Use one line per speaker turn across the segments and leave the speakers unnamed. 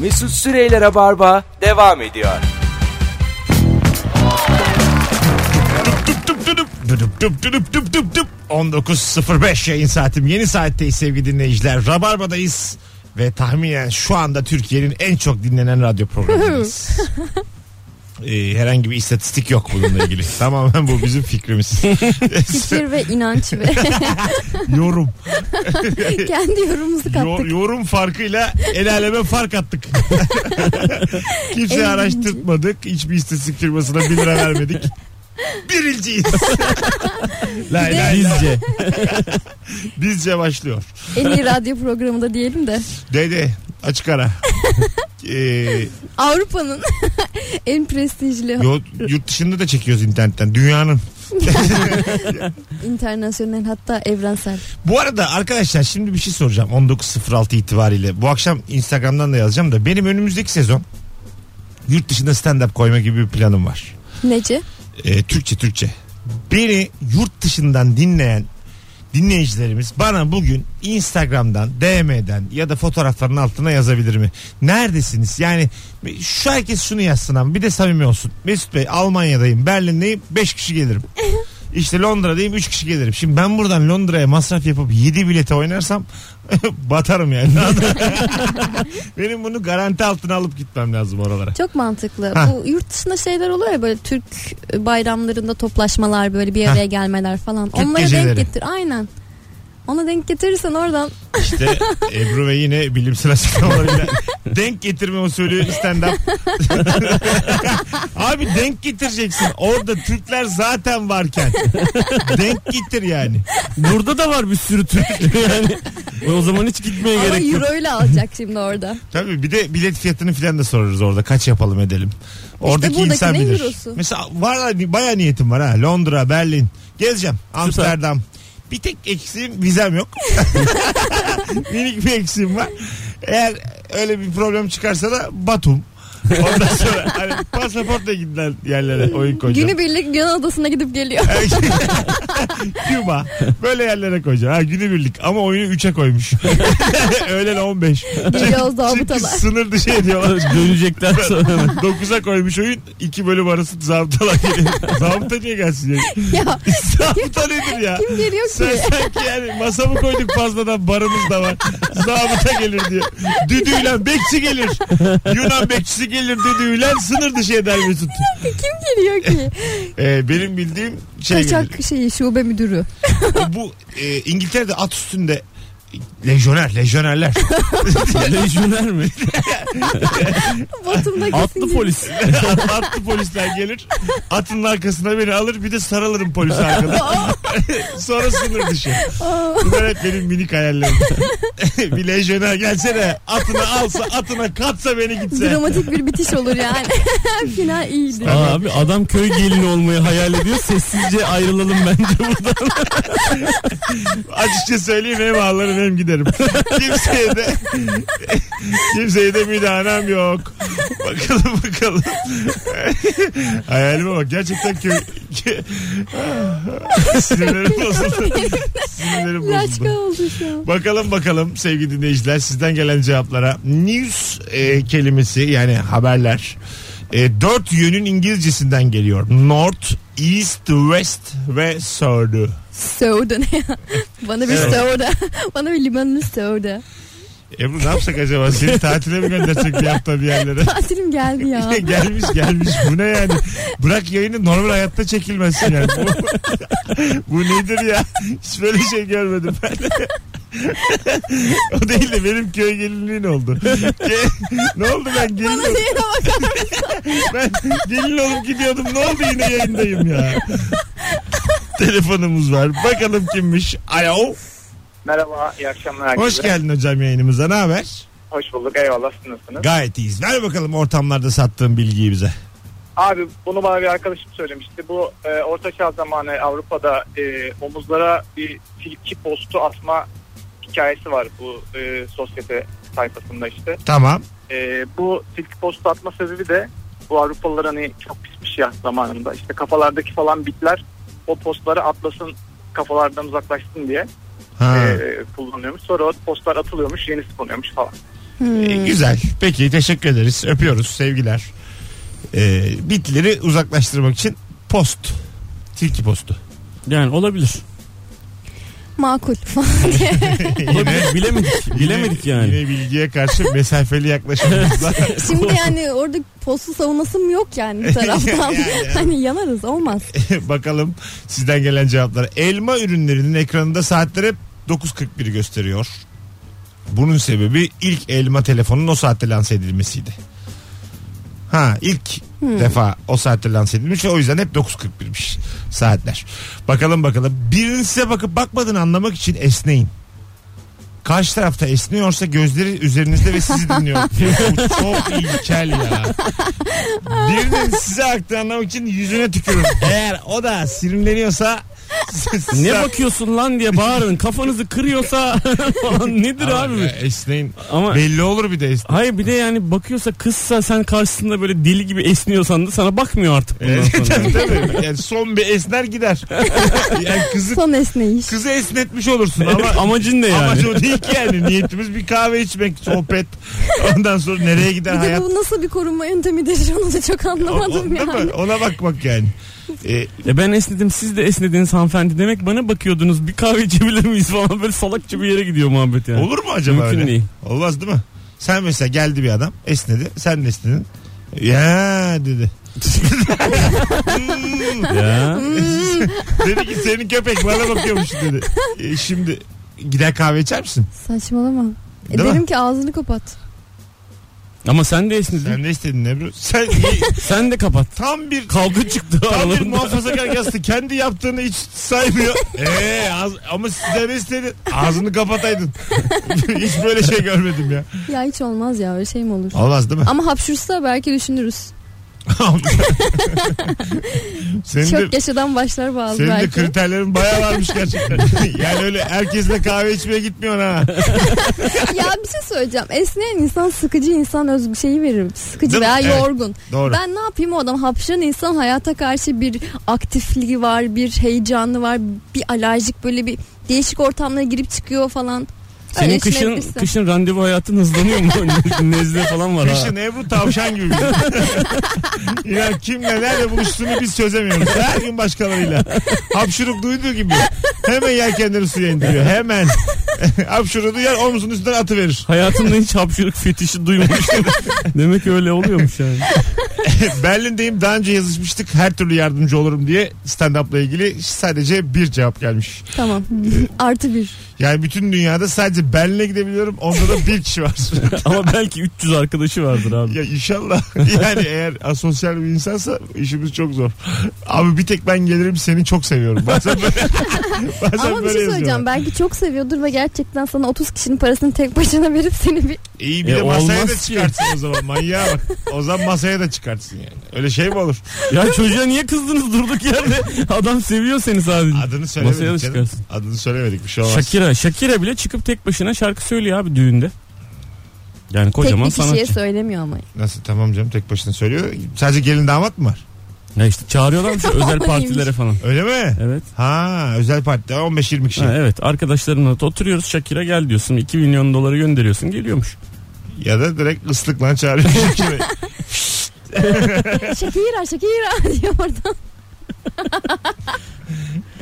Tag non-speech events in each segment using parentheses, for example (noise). Mesut Süreyler'e barba devam ediyor.
Dup dup dup dup dup dup dup dup dup dup. 19.05 yayın saatim. Yeni saatteyiz sevgili dinleyiciler. Rabarba'dayız ve tahminen şu anda Türkiye'nin en çok dinlenen radyo programındayız. Ee, herhangi bir istatistik yok bununla ilgili. Tamamen bu bizim fikrimiz.
Fikir ve
(laughs)
inanç ve
yorum.
kendi yorumumuzu
Yo-
kattık.
yorum farkıyla el aleme fark
(laughs)
attık. Kimse
Eğlenceli.
araştırtmadık. Hiçbir istatistik firmasına bir lira vermedik.
(laughs)
Birinciyiz. lay lay lay.
Bizce.
(laughs) Bizce başlıyor.
en iyi radyo programında diyelim de.
Dede açık
(laughs)
ara. Ee,
Avrupa'nın (laughs) en prestijli
yo- yurt dışında da çekiyoruz internetten. Dünyanın. (laughs)
internasyonel hatta evrensel.
Bu arada arkadaşlar şimdi bir şey soracağım 19.06 itibariyle. Bu akşam Instagram'dan da yazacağım da benim önümüzdeki sezon yurt dışında stand-up koyma gibi bir planım var.
Nece?
Ee, Türkçe Türkçe. Beni yurt dışından dinleyen dinleyicilerimiz bana bugün Instagram'dan, DM'den ya da fotoğrafların altına yazabilir mi? Neredesiniz? Yani şu herkes şunu yazsın ama bir de samimi olsun. Mesut Bey Almanya'dayım, Berlin'deyim 5 kişi gelirim. İşte Londra'dayım 3 kişi gelirim. Şimdi ben buradan Londra'ya masraf yapıp 7 bilete oynarsam (laughs) batarım yani. Benim bunu garanti altına alıp gitmem lazım oralara.
Çok mantıklı.
Ha.
Bu yurt dışında şeyler oluyor ya böyle Türk bayramlarında toplaşmalar böyle bir araya gelmeler falan.
Türk
Onlara
geceleri.
denk getir. Aynen. Ona denk getirirsen oradan
İşte Ebru ve yine bilimsel açıklamalarıyla denk getirme usulü stand up. Abi denk getireceksin. Orada Türkler zaten varken. denk getir yani.
Burada da var bir sürü (laughs) Türk. yani e, o zaman hiç gitmeye
ama
gerek yok.
euro ile alacak
(laughs)
şimdi orada.
Tabii bir de bilet fiyatını filan da sorarız orada. Kaç yapalım edelim. Oradaki
buradaki
insan
ne
bilir.
eurosu?
Mesela var baya niyetim var ha. Londra, Berlin. Gezeceğim. Amsterdam. Bir tek eksiğim vizem yok. (laughs) Minik bir eksiğim var. Eğer öyle bir problem çıkarsa da Batum. Ondan sonra hani pasaportla gidilen yerlere oyun koyacağım.
Günübirlik Yunan adasına gidip geliyor.
Küba. Böyle yerlere koyacağım. Ha günübirlik ama oyunu 3'e koymuş. (laughs) Öğlen 15.
Geliyoruz
Çünkü
zabıtalar.
sınır dışı ediyorlar.
Dönecekler (laughs) sonra.
(laughs) 9'a koymuş oyun. 2 bölüm arası zabıtalar
(laughs)
geliyor. Zabıta niye gelsin? Yani?
(laughs) ya
Zabıta nedir ya?
kim geliyor ki?
Sen sanki yani masa mı koyduk fazladan barımız da var. Zabıta gelir diye. Düdüğüyle bekçi gelir. Yunan bekçisi gelir düdüğüyle sınır dışı eder Mesut.
kim geliyor ki?
Ee, benim bildiğim şey gelir.
Kaçak şeyi şube müdürü.
Bu e, İngiltere'de at üstünde lejyoner,
(laughs)
lejyonerler.
Lejyoner mi?
Batum'da
Atlı
kesin
polis.
Atlı polisler gelir. Atın arkasına beni alır bir de sarılırım polis
(laughs)
arkada. Sonra sınır dışı. (laughs) Bunlar hep benim minik hayallerim. (laughs) bir lejyoner gelse de atına alsa atına katsa beni gitse.
Dramatik bir bitiş
(laughs)
olur yani. (laughs) Final iyiydi.
Aa, abi adam köy gelini olmayı hayal ediyor. Sessizce ayrılalım bence buradan.
Açıkça söyleyeyim hem ağlarım hem giderim. kimseye de kimseye de müdahalem yok. Bakalım bakalım. Hayalime bak gerçekten köy. (laughs) Sinirlerim bozuldu. Sinirlerim
Laçka
bozuldu.
oldu şu an.
Bakalım bakalım sevgili dinleyiciler sizden gelen cevaplara. News e, kelimesi yani haberler. E, dört yönün İngilizcesinden geliyor. North, East, West ve South.
Soda ne ya? (laughs) Bana bir
Evet.
soda. (laughs) Bana bir limonlu soda.
Ebru E, ne yapsak acaba? Seni tatile mi göndersek bir hafta bir yerlere?
Tatilim geldi
(laughs)
ya.
gelmiş gelmiş bu ne yani bırak yayını normal hayatta çekilmesin yani bu, bu nedir ya hiç böyle şey görmedim ben (laughs) o değil de benim köy gelinliğin oldu ne oldu ben gelin
Bana niye bakar?
ben gelin olup gidiyordum. Ne oldu yine yayındayım ya. Telefonumuz var. Bakalım kimmiş. Alo.
Merhaba, iyi akşamlar herkese.
Hoş geldin hocam yayınımıza. Ne haber?
Hoş bulduk, eyvallah siz nasılsınız?
Gayet iyiyiz. Ver bakalım ortamlarda sattığın bilgiyi bize.
Abi bunu bana bir arkadaşım söylemişti. Bu e, Orta Çağ zamanı Avrupa'da e, omuzlara bir tilki postu atma hikayesi var bu e, sosyete sayfasında işte.
Tamam.
E, bu tilki postu atma sebebi de bu Avrupalılar hani çok pismiş ya zamanında. İşte kafalardaki falan bitler o postları atlasın kafalardan uzaklaşsın diye
Ha.
Ee,
e, kullanıyormuş. Sonra o postlar atılıyormuş, yenisi konuyormuş falan.
Ee, güzel. Peki teşekkür ederiz. Öpüyoruz. Sevgiler. Ee, bitleri uzaklaştırmak için post. Tilki postu.
Yani olabilir.
Makul (laughs) falan diye.
olabilir. Bilemedik. Bilemedik
Yine-
yani.
Yine bilgiye karşı mesafeli yaklaşımımızla. (laughs)
Şimdi yani orada postu savunasım yok yani bir taraftan.
Yani.
hani yanarız olmaz.
(laughs) Bakalım sizden gelen cevaplara. Elma ürünlerinin ekranında saatler hep 9.41 gösteriyor. Bunun sebebi ilk elma telefonun o saatte lanse edilmesiydi. Ha ilk
Hmm.
defa o saatte lanse edilmiş ve o yüzden hep 9.41'miş saatler. Bakalım bakalım. Birinin size bakıp bakmadığını anlamak için esneyin. Karşı tarafta esniyorsa gözleri üzerinizde ve sizi dinliyor.
(laughs)
Bu çok ilkel ya. Birinin size aktığını anlamak için yüzüne tükürün. Eğer o da sinirleniyorsa
Ne bakıyorsun lan diye bağırın. Kafanızı kırıyorsa (laughs) falan nedir abi?
abi? Esneyin.
Ama
Belli olur bir de esneyin.
hayır bir de yani bakıyorsa kızsa sen karşısında böyle deli gibi esniyorsan da sana bakmıyor artık bundan
Evet,
sonra.
tabii, tabii. Yani son bir esner
(laughs)
gider. Yani kızı
Son esneyiş.
kızı esnetmiş olursun ama
Evet, amacın ne yani?
amacı o değil ki yani niyetimiz bir kahve içmek, sohbet. Ondan sonra nereye gider
Bir de
hayat?
bu nasıl bir korunma yöntemidir (laughs) onu da çok
O- o-
anlamadım
değil mi?
yani.
Ona bakmak yani. Ee,
E ben esnedim siz de esnediniz hanımefendi demek bana bakıyordunuz bir kahve içebilir miyiz falan böyle salakça bir yere gidiyor muhabbet yani.
olur mu acaba
Mümkün
öyle?
değil.
Olmaz değil mi? Sen mesela geldi bir adam esnedi. Sen de esnedin. Ya dedi. (laughs) Hmm.
Ya.
dedi ki senin köpek bana bakıyormuş dedi. Ee, şimdi gider kahve içer misin?
Saçmalama. E
Değil mi?
derim ki ağzını kapat.
Ama sen de esnedin. Sen,
Sen ne istedin Ebru? Sen
de kapat.
tam (laughs) bir
Kavga çıktı
tam bir
aralarında.
muhafazakar yastı. Kendi yaptığını hiç saymıyor. (laughs) Ee, ağz- ama size ne istedin? Ağzını (laughs) kapataydın. hiç böyle şey görmedim ya.
Ya hiç olmaz ya öyle şey mi olur?
Olmaz (laughs) değil mi?
Ama hapşursa belki düşünürüz.
(laughs) Senin de
Çok yaşadan başlar bazı
Senin de
belki.
kriterlerin bayağı varmış (laughs) gerçekten. yani öyle herkesle kahve içmeye gitmiyorsun ha.
(laughs) ya bir şey söyleyeceğim. Esneyen insan sıkıcı insan öz şeyi verir. Sıkıcı
Değil mi?
veya
Evet.
yorgun.
Doğru.
Ben ne yapayım o adam hapşıran insan hayata karşı bir aktifliği var, bir heyecanı var, bir alerjik böyle bir değişik ortamlara girip çıkıyor falan.
Senin
Öyle
kışın
düşünebilirsin.
kışın randevu hayatın hızlanıyor mu? Nezle falan var ha.
Kışın Ebru tavşan gibi. İnan kimle nerede buluştuğunu biz çözemiyoruz. Her gün başkalarıyla. Hapşuruk duyduğu gibi. Hemen yelkenleri suya indiriyor. Hemen. (laughs) Hapşuruğu duyar omzunun üstünden atıverir. (laughs)
Hayatımda hiç hapşırık fetişi duymamıştım. Demek öyle oluyormuş yani.
Berlin'deyim daha önce yazışmıştık. Her türlü yardımcı olurum diye stand-up'la ilgili sadece bir cevap gelmiş.
Tamam. (laughs) Artı bir.
Yani bütün dünyada sadece Berlin'e gidebiliyorum. Onda da bir kişi var.
Ama belki 300 arkadaşı vardır abi.
Ya inşallah. (laughs) Yani eğer asosyal bir insansa işimiz çok zor. Abi bir tek ben gelirim seni çok seviyorum. Bazen
(laughs)
böyle, bazen
Ama bir
böyle
şey söyleyeceğim.
yazıyorlar.
Belki çok seviyordur ve gerçekten sana 30 kişinin parasını tek başına verip seni bir...
İyi bir
E,
de masaya da
olmaz ki.
çıkartsın o zaman. Manyağa bak. O zaman masaya da çıkartsın yani. Öyle şey mi olur?
Ya çocuğa niye kızdınız durduk yerde? Adam seviyor seni sadece.
Adını
Masaya da
söylemedik canım.
çıkarsın.
Adını söylemedik bir şey olmaz.
Shakira, Shakira bile çıkıp tek başına şarkı söylüyor abi düğünde. Yani
Tek
kocaman
bir kişiye
sanatçı.
söylemiyor ama. (laughs)
Nasıl tamam canım tek başına söylüyor. Sadece gelin damat mı var?
Ya işte
(laughs)
çağırıyorlarmış ya özel
Vallahi
partilere falan.
Öyle mi?
Evet.
Ha özel partide 15-20 kişi.
Ha, evet arkadaşlarınla da oturuyoruz Shakira gel diyorsun 2 milyon doları gönderiyorsun geliyormuş.
Ya da direkt ıslıkla
(laughs)
çağırıyor. (laughs)
Şakira Şakira (laughs) diyor oradan.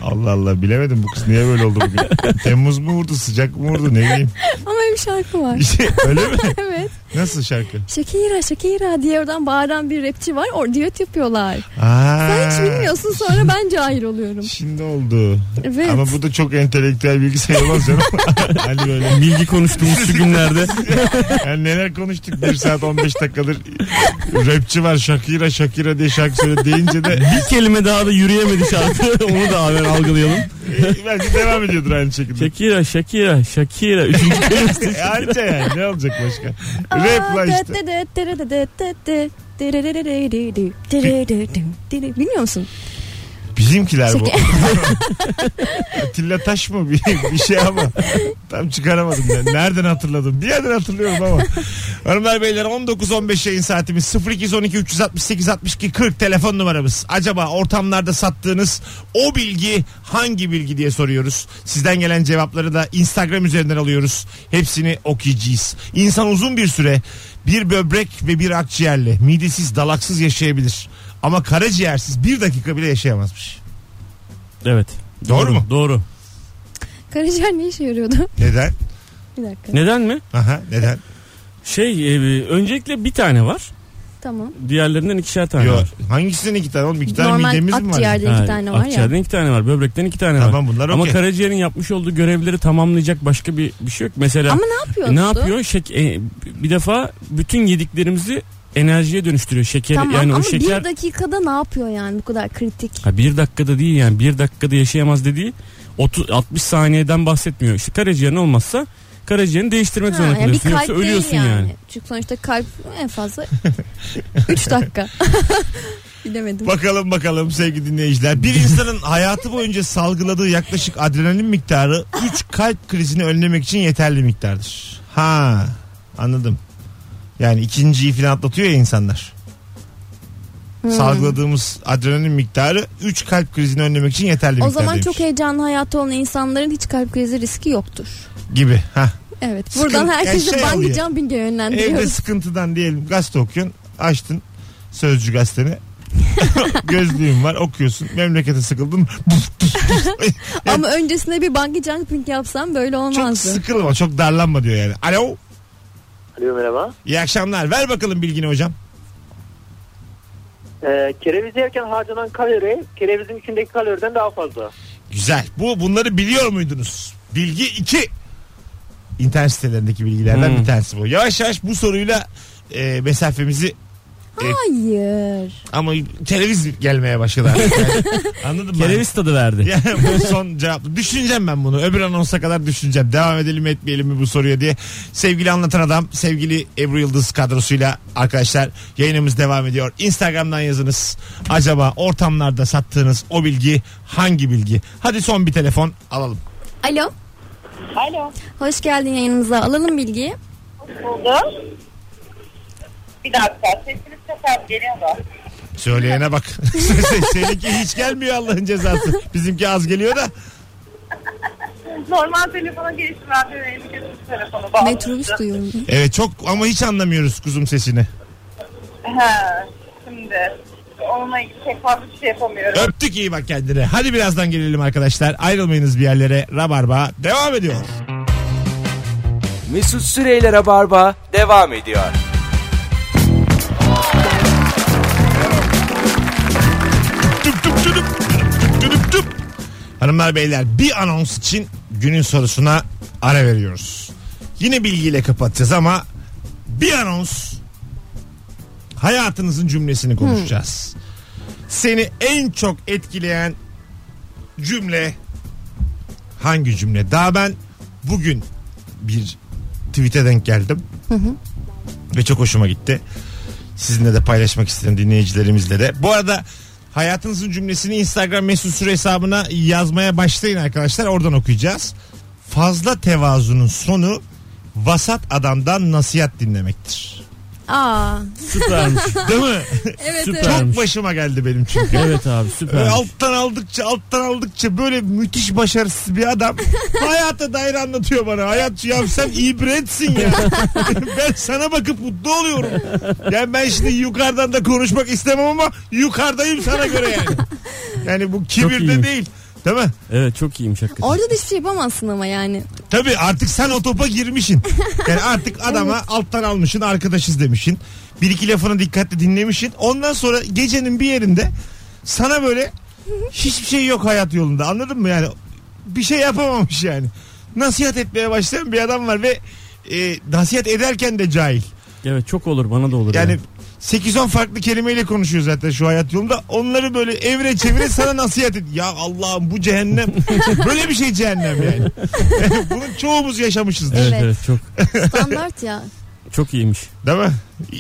Allah Allah bilemedim bu kız niye böyle oldu bugün. Temmuz mu vurdu sıcak mı vurdu ne bileyim.
Ama bir şarkı var.
İşte (laughs) öyle mi?
evet.
Nasıl şarkı?
Şakira Şakira diye oradan bağıran bir rapçi var. Or diyet yapıyorlar.
Aa,
Sen hiç bilmiyorsun sonra ben cahil oluyorum.
Şimdi oldu.
Evet.
Ama bu da çok entelektüel bilgi sayılmaz
(laughs)
canım. hani böyle
Bilgi konuştuğumuz şu günlerde
yani neler konuştuk 1 saat 15 dakikadır rapçi var Shakira Shakira diye şarkı söyle deyince de
bir kelime daha da yürüyemedi şarkı (laughs) onu da haber algılayalım.
e, bence devam ediyordur aynı şekilde.
Shakira Shakira Shakira üçüncü kelimesi.
E, Anca yani ne olacak başka?
Aa,
Rap la işte.
dı dı dı dı dı dı dı dı dı dı dı dı dı dı dı dı dı dı. Bilmiyor musun?
Bizimkiler bu. (laughs) Atilla Taş mı bir, bir şey ama tam çıkaramadım ben. Nereden hatırladım? Bir yerden hatırlıyorum ama. Hanımlar beyler 19-15 yayın saatimiz 0212 368 62 40 telefon numaramız. Acaba ortamlarda sattığınız o bilgi hangi bilgi diye soruyoruz. Sizden gelen cevapları da Instagram üzerinden alıyoruz. Hepsini okuyacağız. İnsan uzun bir süre bir böbrek ve bir akciğerle midesiz dalaksız yaşayabilir. Ama karaciğersiz bir dakika bile yaşayamazmış.
Evet.
Doğru mu?
Doğru.
Karaciğer ne işe yarıyordu?
Neden?
Bir dakika.
Neden mi?
Aha neden?
Şey e, öncelikle bir tane var.
Tamam.
Diğerlerinden ikişer tane
Yo,
var.
hangisinin iki tane oğlum? iki tane midemiz
Normal
mi var?
akciğerde iki tane var ya.
akciğerden iki tane var. Böbrekten iki tane var.
Tamam bunlar
Ama
okey.
karaciğerin yapmış olduğu görevleri tamamlayacak başka bir, bir şey yok. Mesela
Ama ne yapıyordu?
E, Ne yapıyor? Şek e, bir defa bütün yediklerimizi enerjiye dönüştürüyor. Şeker
Tamam
yani
ama
o şeker
bir dakikada ne yapıyor yani bu kadar kritik?
ha, bir dakikada değil yani bir dakikada yaşayamaz dediği 30 60 saniyeden bahsetmiyor. İşte karaciğerin olmazsa karaciğerini değiştirmek
Ha,
zorunda
yani bir
kalıyorsun.
kalp
Yoksa
değil
ölüyorsun
yani.
yani.
Çünkü sonuçta kalp en fazla 3 dakika. Bilemedim.
Bakalım bakalım sevgili dinleyiciler. Bir insanın hayatı boyunca salgıladığı yaklaşık adrenalin miktarı 3 kalp krizini önlemek için yeterli miktardır. Ha anladım. Yani ikinciyi falan atlatıyor ya insanlar.
Hmm.
Salgıladığımız adrenalin miktarı 3 kalp krizini önlemek için yeterli
O
miktar
zaman
demiş.
çok heyecanlı hayatı olan insanların hiç kalp krizi riski yoktur.
gibi. Ha.
Evet.
Sıkıntı-
Buradan
yani
herkese
şey
bungee
oluyor.
jumping'e
Evde
(laughs) yönlendiriyoruz.
sıkıntıdan diyelim gazete okuyorsun. Açtın Sözcü gazeteni. (laughs) Gözlüğün var okuyorsun. Memlekete sıkıldın.
Ama öncesinde bir bungee jumping yapsam böyle
Çok
olmazdı.
sıkılma çok darlanma diyor yani. Alo.
Alo merhaba.
İyi akşamlar. Ver bakalım bilgini hocam.
Ee, kereviz yerken harcanan kalori kerevizin içindeki kaloriden daha fazla.
Güzel. Bu bunları biliyor muydunuz? Bilgi 2. İnternet sitelerindeki bilgilerden
Hmm.
bir tanesi bu. Yavaş yavaş bu soruyla e, mesafemizi
Hayır.
ama kereviz gelmeye başladı. artık Yani. Anladın mı?
Kereviz tadı verdi.
Ya bu son cevap. Düşüneceğim ben bunu. Öbür anonsa kadar düşüneceğim. Devam edelim mi etmeyelim mi bu soruya diye. Sevgili anlatan adam, sevgili Ebru Yıldız kadrosuyla arkadaşlar yayınımız devam ediyor. Instagram'dan yazınız. Acaba ortamlarda sattığınız o bilgi hangi bilgi? Hadi son bir telefon alalım.
Alo.
Alo.
Hoş geldin yayınımıza. Alalım bilgiyi.
Buldum. Bir dakika. Sesiniz çok az geliyor da.
Söyleyene bak. (laughs) Seninki hiç gelmiyor Allah'ın cezası. Bizimki az geliyor da.
Normal telefona girişim ben de benim kötü telefonu bağlı.
Metrobüs duyuyorum.
Evet çok ama hiç anlamıyoruz kuzum sesini.
He. Şimdi. Onunla ilgili pek fazla bir şey yapamıyorum.
Öptük iyi bak kendine. Hadi birazdan gelelim arkadaşlar. Ayrılmayınız bir yerlere. Rabarba devam ediyor.
Mesut Süreyler'e barba devam ediyor.
Tüp tüp tüp tüp tüp tüp. Hanımlar beyler bir anons için günün sorusuna ara veriyoruz. Yine bilgiyle kapatacağız ama bir anons hayatınızın cümlesini konuşacağız. Seni en çok etkileyen cümle hangi cümle? Daha ben bugün bir tweet'e denk geldim. Ve çok hoşuma gitti. Sizinle de paylaşmak istedim dinleyicilerimizle de. Bu arada hayatınızın cümlesini Instagram mesut süre hesabına yazmaya başlayın arkadaşlar. Oradan okuyacağız. Fazla tevazunun sonu vasat adamdan nasihat
(laughs)
dinlemektir.
Aa.
Süpermiş.
Değil mi?
Evet evet.
Süpermiş.
çok başıma geldi benim çünkü.
(laughs) evet abi
Ee,
süpermiş.
alttan aldıkça alttan aldıkça böyle müthiş başarısız bir adam hayata dair anlatıyor bana. Hayat ya sen ibretsin ya. ben sana bakıp mutlu oluyorum. Yani ben şimdi yukarıdan da konuşmak istemem ama yukarıdayım sana göre yani. Yani bu kibirde
iyiymiş.
değil. Değil mi?
Evet çok iyiymiş hakikaten.
Orada da hiçbir şey yapamazsın ama yani.
Tabii artık sen o topa girmişsin. Yani artık adama alttan almışsın arkadaşız demişsin. Bir iki lafını dikkatli dinlemişsin. Ondan sonra gecenin bir yerinde sana böyle hiçbir şey yok hayat yolunda anladın mı yani? Bir şey yapamamış yani. Nasihat etmeye başlayan bir adam var ve e, nasihat ederken de cahil.
Evet çok olur bana da olur.
Yani 8-10 farklı kelimeyle konuşuyor zaten şu hayat yolunda. Onları böyle evre çevire sana nasihat et. Ya Allah'ım bu
(laughs)
cehennem. böyle bir (laughs) şey cehennem yani. Bunu çoğumuz yaşamışızdır.
Evet
Evet.
evet çok.
Standart ya.
Çok iyiymiş.
Değil mi?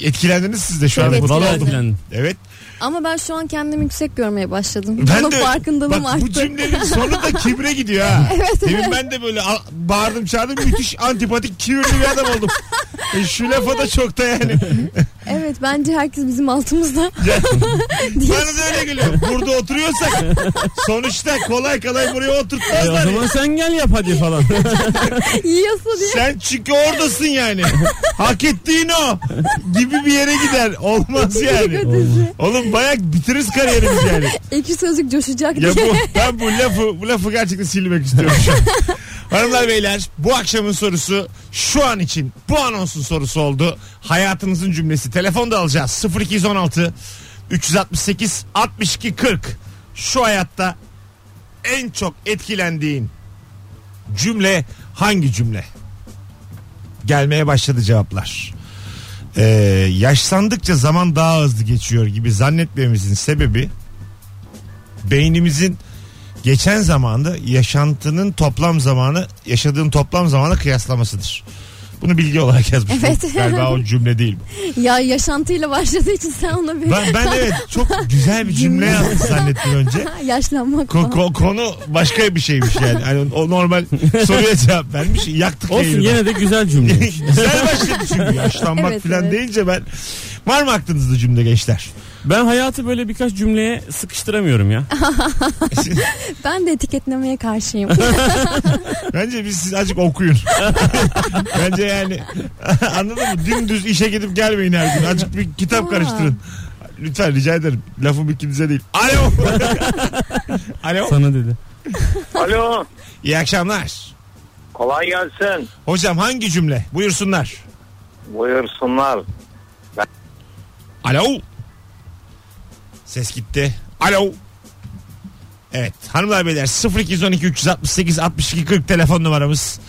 Etkilendiniz siz de şu an.
Evet,
mutlu
Vallahi
etkilendim.
oldum.
etkilendim.
Evet.
Ama ben şu an kendimi yüksek görmeye başladım.
Ben
Bunun
de
farkındalığım
bak, Bu
(laughs) arttı.
cümlenin sonu da kibre gidiyor ha. evet, Demin ben de böyle a- bağırdım çağırdım müthiş antipatik kibirli bir adam oldum. E, şu lafa da çok da yani.
Evet bence herkes bizim altımızda. (laughs) diye
Bana da öyle geliyor. Burada oturuyorsak sonuçta kolay kolay buraya
E, o
oturtmazlar.
zaman sen gel yap hadi falan.
yiyorsa diye.
Sen çünkü oradasın yani. Hak ettiğin o. Gibi bir yere gider. Olmaz yani. Oğlum bayağı bitiririz kariyerimizi yani.
Ekşi sözlük coşacak
Ya
diye.
bu, ben bu lafı, bu lafı gerçekten silmek istiyorum şu an. Hanımlar beyler bu akşamın sorusu şu an için bu anonsun sorusu oldu. Hayatınızın cümlesi. Telefon da alacağız. 0216 368 62 40. Şu hayatta en çok etkilendiğin cümle hangi cümle? Gelmeye başladı cevaplar. Ee, yaşlandıkça zaman daha hızlı geçiyor gibi zannetmemizin sebebi beynimizin geçen zamanda yaşantının toplam zamanı yaşadığın toplam zamanı kıyaslamasıdır. Bunu bilgi olarak yazmış.
Evet.
Galiba o cümle değil. bu.
Ya yaşantıyla başladığı için sen ona bir
Ben, ben evet çok güzel bir cümle yazdım zannettim önce.
(laughs) yaşlanmak
Ko-
falan.
ko- konu başka bir şeymiş yani. Hani o normal soruya cevap vermiş. Yaktık
(laughs) Olsun
yayını.
yine de güzel (laughs) cümle.
Güzel başladı çünkü (laughs) yaşlanmak
Evet,
falan
evet.
deyince ben. Var mı aklınızda cümle gençler?
Ben hayatı böyle birkaç cümleye sıkıştıramıyorum ya.
Ben de etiketlemeye karşıyım. (laughs)
Bence biz siz azıcık (laughs) okuyun. Bence yani (laughs) anladın mı? Dümdüz işe gidip gelmeyin her gün. Azıcık bir kitap
Aa.
karıştırın. Lütfen rica ederim. Lafım ikinize değil. (laughs) Alo. Alo.
Sana dedi.
(laughs) Alo.
İyi akşamlar.
Kolay gelsin.
Hocam hangi cümle? Buyursunlar.
Buyursunlar.
Alo. Ses gitti. Alo. Evet hanımlar beyler 0212 368 62 40 telefon numaramız.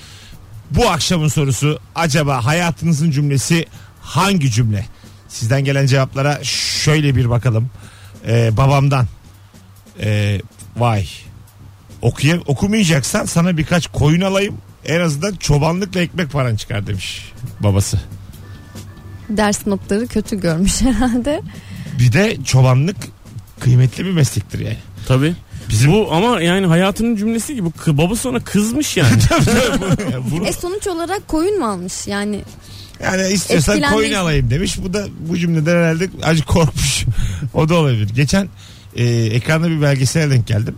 Bu akşamın sorusu acaba hayatınızın cümlesi hangi cümle? Sizden gelen cevaplara şöyle bir bakalım. Ee, babamdan. Ee, vay. Okuya, okumayacaksan sana birkaç koyun alayım. En azından çobanlıkla ekmek paran çıkar demiş babası.
Ders notları kötü görmüş (laughs) herhalde.
Bir de çobanlık kıymetli bir meslektir yani.
Tabii.
Bizim-
Bu ama yani hayatının cümlesi gibi Kı- babası ona kızmış (laughs) yani.
Bunu-
E sonuç olarak koyun mu almış? Yani
yani istiyorsan
Etkilenmeyiz.
koyun alayım demiş. Bu da bu cümleden herhalde acı korkmuş. (laughs) o da olabilir. Geçen e, ekranda bir belgesele denk geldim.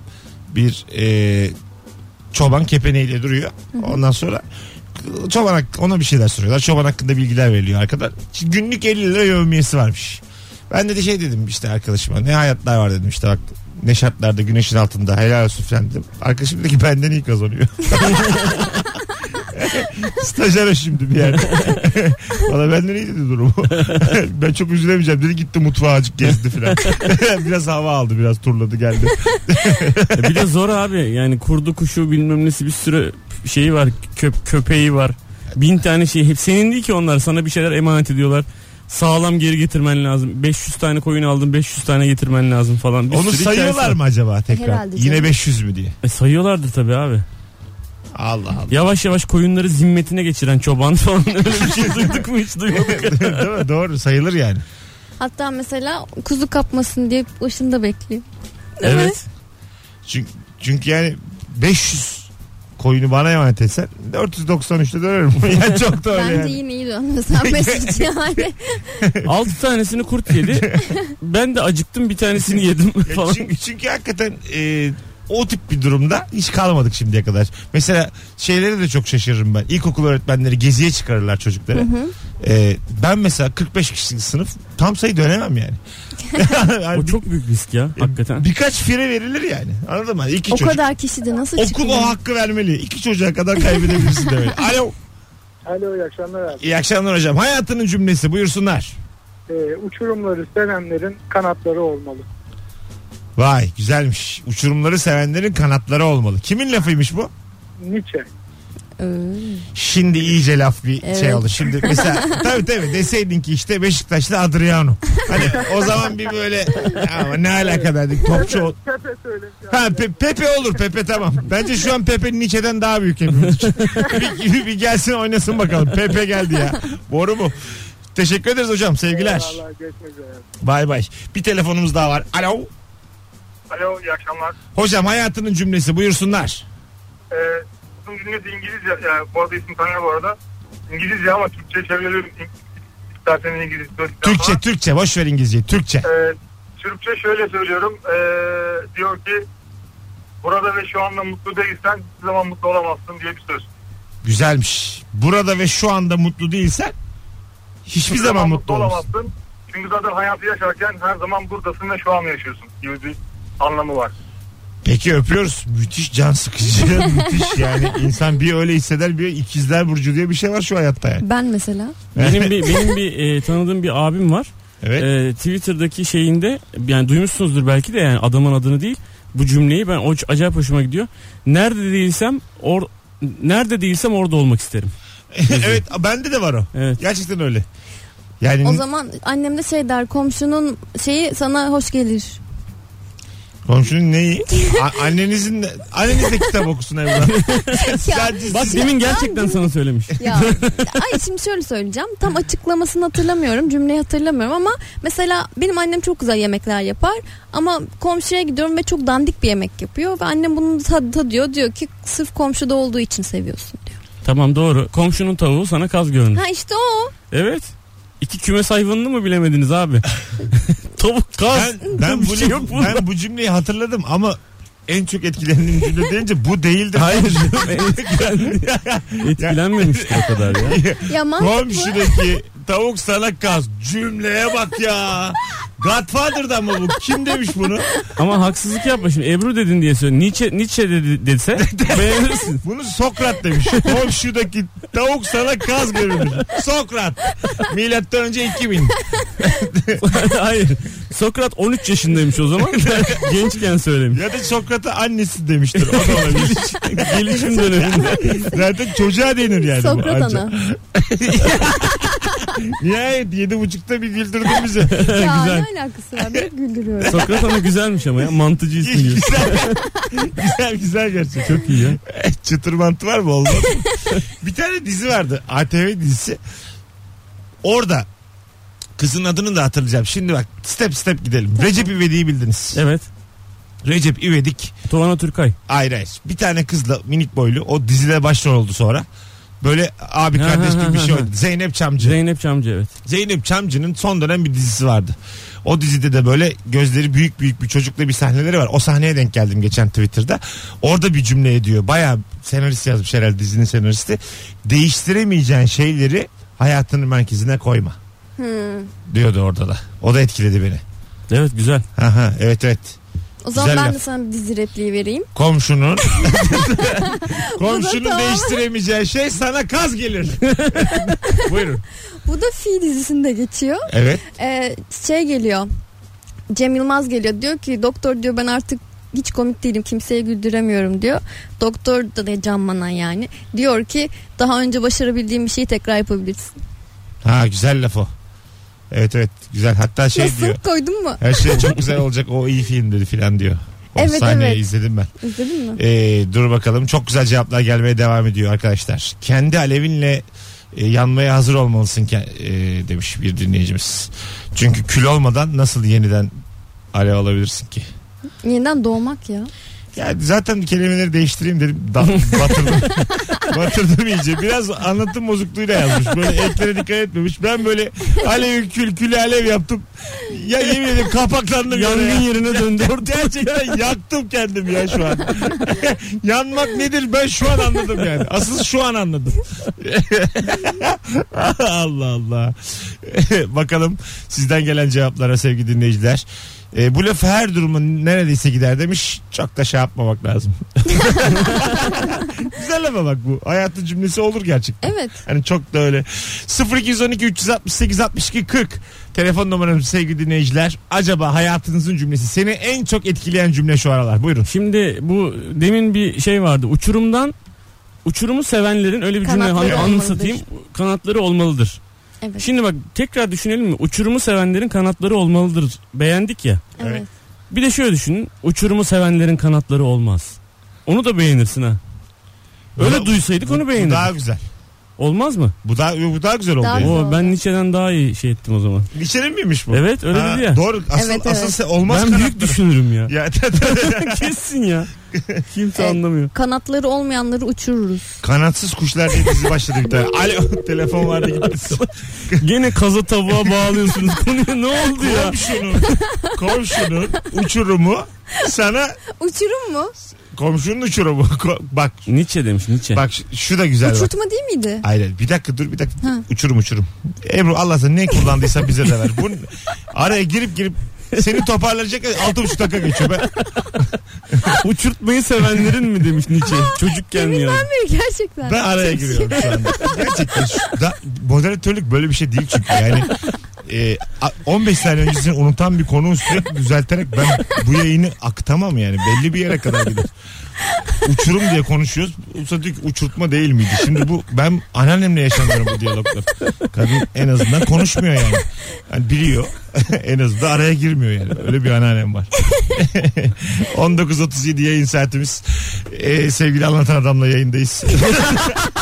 Bir e, çoban kepeneğiyle duruyor. Ondan sonra çoban hak- ona bir şeyler soruyorlar. Çoban hakkında bilgiler veriliyor arkadan. Şimdi Günlük 50 lira yevmiyesi varmış. Ben de şey dedim işte arkadaşıma ne hayatlar var dedim işte bak ne şartlarda güneşin altında helal olsun falan dedim. Arkadaşım dedi ki benden iyi kazanıyor. (laughs) Stajyer şimdi bir yerde. Valla benden iyi dedi durumu. (laughs) ben çok üzülemeyeceğim dedi gitti mutfağa azıcık gezdi falan. (laughs) biraz hava aldı biraz turladı geldi.
E bir de zor abi yani kurdu kuşu bilmem nesi bir sürü şeyi var köp köpeği var. Bin tane şey hep senin değil ki onlar sana bir şeyler emanet ediyorlar. Sağlam geri getirmen lazım. 500 tane koyun aldın 500 tane getirmen lazım falan. Bir
Onu
sürü hikayesi
sayıyorlar
var.
mı acaba tekrar?
Herhalde
Yine
canım.
500 mü diye.
E, sayıyorlardır tabii abi.
Allah Allah.
Yavaş yavaş koyunları zimmetine geçiren çoban falan (laughs) öyle bir şey duyduk mu hiç duymadık.
(laughs) Değil mi? Doğru sayılır yani.
hatta mesela kuzu kapmasın diye başında bekliyor. Değil mi?
Evet.
Çünkü, çünkü yani 500 koyunu bana emanet etsen 493'te dönerim. (laughs) yani çok da öyle
Bence
yani.
yine iyi
(laughs)
dönmesen Mesut'u yani.
6 tanesini kurt yedi. Ben de acıktım bir tanesini yedim
Ya
falan.
çünkü, çünkü hakikaten e, o tip bir durumda hiç kalmadık şimdiye kadar. Mesela şeylere de çok şaşırırım ben. İlkokul öğretmenleri geziye çıkarırlar çocukları. E, ben mesela 45 kişilik sınıf tam sayı dönemem
(laughs)
yani. Yani
O çok büyük risk ya hakikaten.
Birkaç fire verilir yani. Anladın mı? İki
o
çocuk.
kadar kişi de nasıl
Okul o hakkı vermeli. İki çocuğa kadar
(laughs)
kaybedebilirsin demek. Alo.
Alo iyi akşamlar abi.
İyi akşamlar hocam. Hayatının cümlesi buyursunlar.
Ee, uçurumları sevenlerin kanatları olmalı.
Vay güzelmiş. Uçurumları sevenlerin kanatları olmalı. Kimin lafıymış bu?
Nietzsche.
Öyle.
Şimdi iyice laf bir şey
Evet.
oldu. Şimdi mesela tabii tabii deseydin ki işte Beşiktaşlı Adriano. Hani o zaman bir böyle ama ne alaka derdik topçu ol.
Pepe söylemiş. ya.
Ha Pe- Pepe olur Pepe tamam. Bence şu an Pepe Nietzsche'den daha büyük
(laughs)
hepimiz için. bir, bir- bir gelsin oynasın bakalım. Pepe geldi ya. Boru mu? Teşekkür ederiz hocam. Sevgiler.
Eyvallah, görüşmek üzere.
Bay bay. Bir telefonumuz daha var. Alo.
Alo iyi akşamlar.
Hocam hayatının cümlesi buyursunlar.
Ee, uzun cümlesi İngilizce. Yani bu arada isim Tanya bu arada. İngilizce ama Türkçe çeviriyorum. İng- İsterseniz İngilizce.
Türkçe Türkçe boş ver İngilizceyi. Türkçe.
Ee, Türkçe şöyle söylüyorum. Ee, diyor ki burada ve şu anda mutlu değilsen hiçbir zaman mutlu olamazsın diye bir söz.
Güzelmiş. Burada ve şu anda mutlu değilsen hiçbir zaman mutlu olamazsın.
olamazsın. Çünkü zaten hayatı yaşarken her zaman buradasın ve şu an yaşıyorsun gibi bir anlamı var.
Peki öpüyoruz. Müthiş can sıkıcı. (laughs) müthiş yani. insan bir öyle hisseder bir ikizler burcu diye bir şey var şu hayatta yani.
Ben mesela
Benim bir benim bir e, tanıdığım bir abim var.
Evet. (laughs)
Ee, Twitter'daki şeyinde yani duymuşsunuzdur belki de yani adamın adını değil bu cümleyi ben o acayip hoşuma gidiyor. Nerede değilsem or nerede değilsem orada olmak isterim.
evet bende de var o.
Evet.
Gerçekten öyle. Yani
o zaman annem de şey der komşunun şeyi sana hoş gelir.
komşunun neyi? A- annenizin de, anneniz de kitap okusun
(laughs)
evlat. Sadece
Bak
siz-
demin gerçekten sana söylemiş.
Ya ay şimdi şöyle söyleyeceğim. Tam açıklamasını hatırlamıyorum. Cümleyi hatırlamıyorum ama mesela benim annem çok güzel yemekler yapar ama komşuya gidiyorum ve çok dandik bir yemek yapıyor ve annem bunu tadı tadıyor. Diyor ki sırf komşuda olduğu için seviyorsun diyor.
Tamam doğru. Komşunun tavuğu sana kaz görünür.
Ha işte o.
Evet. İki kümes hayvanını mı bilemediniz abi? (laughs) Tavuk kaz.
Ben, ben,
Bir
bu,
şey yok bunda.
ben bu cümleyi hatırladım ama en çok etkilendiğim cümle deyince bu değildir. Hayır. (laughs)
(laughs) Etkilenmemişti o kadar ya.
(laughs)
Ya mantıklı.
Komşudaki tavuk sana kaz. Cümleye bak ya. Godfather'dan mı bu? Kim demiş bunu?
Ama haksızlık yapma şimdi. Ebru dedin diye söyle. Nietzsche, Nietzsche
(laughs)
dedi, dese beğenirsin. (laughs)
Bunu Sokrat demiş. Komşudaki tavuk sana kaz görünür. Sokrat. Milattan önce 2000.
Hayır. Sokrat 13 yaşındaymış
(laughs)
o zaman. Gençken söylemiş.
Ya da Sokrat'a annesi demiştir. O da
(laughs)
olabilir.
Gelişim döneminde.
Zaten çocuğa denir yani. bu
(laughs) Sokrat
anca. (laughs)
ana.
Nihayet yedi buçukta bir güldürdün bizi.
Ya
Güzel.
ne alakası var? Beni güldürüyor.
Sokrat ama güzelmiş ama ya. Mantıcı ismi gibi.
(laughs) güzel. güzel güzel gerçek. Çok iyi ya. Eh, Çıtır mantı var mı? (laughs) Olmaz. mı? bir tane dizi vardı. ATV dizisi. Orada kızın adını da hatırlayacağım. Şimdi bak step step gidelim. Recep İvedik'i bildiniz.
Evet.
Recep İvedik.
Tuana Türkay.
Ayrı ayrı. Bir tane kızla minik boylu. O dizide başrol oldu sonra. Böyle abi
Ha,
kardeş
ha,
gibi bir
ha,
şey
ha.
oldu. Zeynep Çamcı.
Zeynep Çamcı evet.
Zeynep Çamcı'nın son dönem bir dizisi vardı. O dizide de böyle gözleri büyük büyük bir çocukla bir sahneleri var. O sahneye denk geldim geçen Twitter'da. Orada bir cümle ediyor. Baya senarist yazmış herhalde dizinin senaristi. Değiştiremeyeceğin şeyleri hayatının merkezine koyma. Diyordu orada da. O da etkiledi beni.
Evet güzel.
Aha, evet evet.
O zaman
Güzel
ben de
laf.
sana bir dizi repliği vereyim.
Komşunun (laughs) komşunun
tamam.
değiştiremeyeceği şey sana kaz gelir. Buyurun.
Bu da Fi dizisinde geçiyor.
Evet.
Ee, şey geliyor. Cem Yılmaz geliyor. Diyor ki doktor diyor ben artık hiç komik değilim kimseye güldüremiyorum diyor. Doktor da ne canmanan yani. Diyor ki daha önce başarabildiğim bir şeyi tekrar yapabilirsin.
Ha güzel laf o. Evet evet güzel. Hatta şey
Nasıl
diyor.
koydun mu?
Her şey çok güzel olacak o iyi film dedi filan diyor. O
Evet,
sahneyi
evet.
izledim ben.
İzledin mi?
Ee, dur bakalım çok güzel cevaplar gelmeye devam ediyor arkadaşlar. Kendi alevinle e, yanmaya hazır olmalısın ke- e, demiş bir dinleyicimiz. Çünkü kül olmadan nasıl yeniden alev alabilirsin ki?
Yeniden doğmak ya.
Ya zaten kelimeleri değiştireyim dedim. Da-
(laughs)
batırdım. batırdım iyice. Biraz anlatım bozukluğuyla yazmış. Böyle eklere dikkat etmemiş. Ben böyle alev kül kül alev yaptım. Ya yemin ederim kapaklandım. yere ya.
Yangın yerine döndü.
Gerçekten yaktım kendimi ya şu an. (laughs) Yanmak nedir ben şu an anladım yani. Asıl şu an anladım. (laughs) Allah Allah. (laughs) Bakalım sizden gelen cevaplara sevgili dinleyiciler. E, bu laf her durumun neredeyse gider demiş. Çok da şey yapmamak lazım. (laughs) Güzel ama bak bu. Hayatın cümlesi olur gerçekten.
Evet.
Hani çok da öyle. 0212 368 62 40 telefon numaramız sevgili dinleyiciler. Acaba hayatınızın cümlesi seni en çok etkileyen cümle şu aralar. Buyurun.
Şimdi bu demin bir şey vardı. Uçurumdan uçurumu sevenlerin öyle bir cümle
Kanatları
hani
olmalıdır.
anımsatayım kanatları olmalıdır.
Evet.
Şimdi bak tekrar düşünelim mi? Uçurumu sevenlerin kanatları olmalıdır. Beğendik ya.
evet.
Bir de şöyle düşünün. Uçurumu sevenlerin kanatları olmaz. Onu da beğenirsin ha. Öyle
Bu-
duysaydık onu
Bu
beğenirdik.
daha güzel.
Olmaz mı?
Bu daha bu daha güzel oldu.
Daha
yani.
güzel.
Oo,
oldu.
ben Nietzsche'den daha iyi şey ettim o zaman.
Nietzsche'nin miymiş bu?
Evet öyle
Ha,
dedi ya.
Doğru. Asıl,
Evet,
asıl
evet.
se- olmaz
ben
kanatları.
büyük düşünürüm ya.
(laughs) Ya,
(laughs) Kesin ya. Kimse
Evet.
anlamıyor.
Kanatları olmayanları uçururuz.
kanatsız kuşlar diye dizi başladı bir
(laughs)
tane. Alo (laughs) telefon vardı gitti.
Gene kaza tavuğa bağlıyorsunuz konuya ne oldu ya?
komşunun, komşunun uçurumu sana
Uçurum mu?
komşunun uçurumu. Ko- bak
Nietzsche demiş Nietzsche.
bak şu- şu da güzel bak.
Uçurtma değil miydi?
Aynen. Bir dakika dur bir dakika.
Ha.
Uçurum uçurum. Ebru Allah sen ne kullandıysa bize de ver. Bu araya girip girip seni toparlayacak altı buçuk dakika geçiyor. Ben,
Uçurtmayı sevenlerin mi demiş Nietzsche. Çocukken
Emin
yani.
vermiyor gerçekten.
ben araya giriyorum şu anda. Gerçekten şu- da, moderatörlük böyle bir şey değil çünkü yani. e, a- 15 saniye öncesini unutan bir konuyu sürekli düzelterek ben bu yayını aktamam yani. Belli bir yere kadar gider. Uçurum diye konuşuyoruz. Usta diyor ki uçurtma değil miydi? Şimdi bu ben anneannemle yaşamıyorum bu diyalogları. Kadın en azından konuşmuyor yani. Yani biliyor. (laughs) en azından araya girmiyor yani. Öyle bir anneannem var. (laughs) 19.37 yayın saatimiz. Ee, sevgili anlatan adamla yayındayız.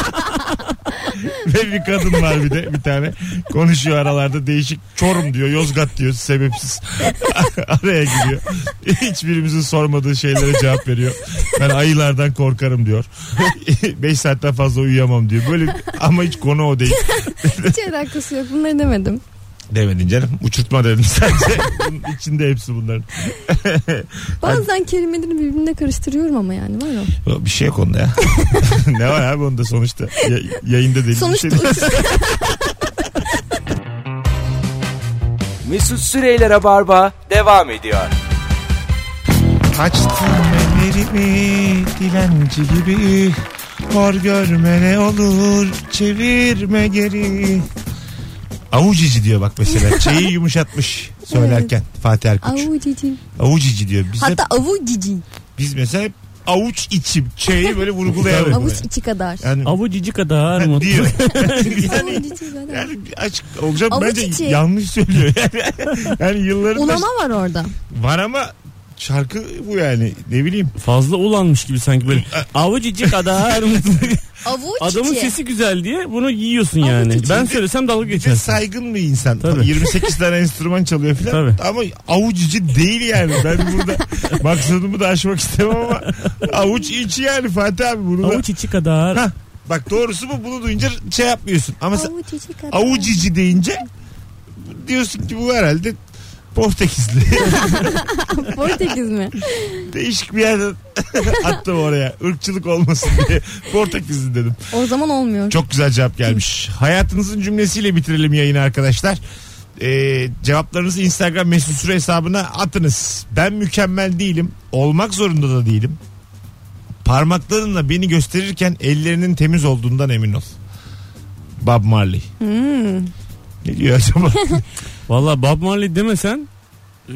(laughs) Ve bir kadın var bir de bir tane. Konuşuyor aralarda değişik. Çorum diyor, Yozgat diyor sebepsiz. (laughs) Araya giriyor. Hiçbirimizin sormadığı şeylere cevap veriyor. Ben ayılardan korkarım diyor. (laughs) 5 saatten fazla uyuyamam diyor. Böyle ama hiç konu o değil.
Hiç alakası yok. Bunları demedim.
Demedin canım. Uçurtma dedim sadece. Bunun içinde hepsi bunların.
Bazen kelimeleri birbirine karıştırıyorum ama yani var o.
Bir şey yok onda ya. (laughs) ne var abi onda sonuçta? Ya- yayında değil.
Sonuçta
bir şey değil.
Mesut Süreyler'e barba devam ediyor.
Açtım ellerimi dilenci gibi Hor görme ne olur çevirme geri Avucici diyor bak mesela.
(laughs)
Çeyi yumuşatmış söylerken Fatih Erkoç.
Avu cici.
Avucici diyor. Biz, hep,
Hatta avu cici.
biz mesela hep avuç içim. Çeyi böyle vurgulayalım.
Avuç içi kadar.
Yani,
Avu cici kadar
Ha, (laughs)
mutlu.
diyor.
Avu cici kadar.
Yani açık olacağım
Avuç
bence
içi.
yanlış söylüyor. (laughs) Yani, yani yılların
Ulama var orada.
var ama şarkı bu yani ne bileyim.
Fazla ulanmış gibi sanki (laughs) böyle. Avu cici kadar mutlu.
Avu cici.
Adamın sesi güzel diye bunu yiyorsun yani.
cici.
Ben söylesem dalga
Bir de
geçersin.
saygın bir insan.
Tabii.
28
(laughs)
tane enstrüman çalıyor filan.
Tabii.
Ama avuç içi değil yani. Ben burada
(laughs)
maksadımı da aşmak istemem ama avuç içi yani Fatih abi. Bunu da-
Avu cici kadar.
Hah, bak doğrusu bu. Bunu duyunca şey yapmıyorsun. Ama sen
Avu cici kadar.
avuç içi deyince diyorsun ki bu herhalde
(laughs)
Portekizli.
Portekiz mi?
Değişik bir yerden (laughs) attım oraya. Irkçılık olmasın diye. Portekizli dedim.
O zaman olmuyor.
Çok güzel cevap gelmiş. Hayatınızın cümlesiyle bitirelim yayını arkadaşlar. Ee, cevaplarınızı Instagram mesut süre hesabına atınız. Ben mükemmel değilim. Olmak zorunda da değilim. Parmaklarınla beni gösterirken ellerinin temiz olduğundan emin ol. Bob Marley.
Hmm.
Ne diyor acaba?
Valla Bob Marley demesen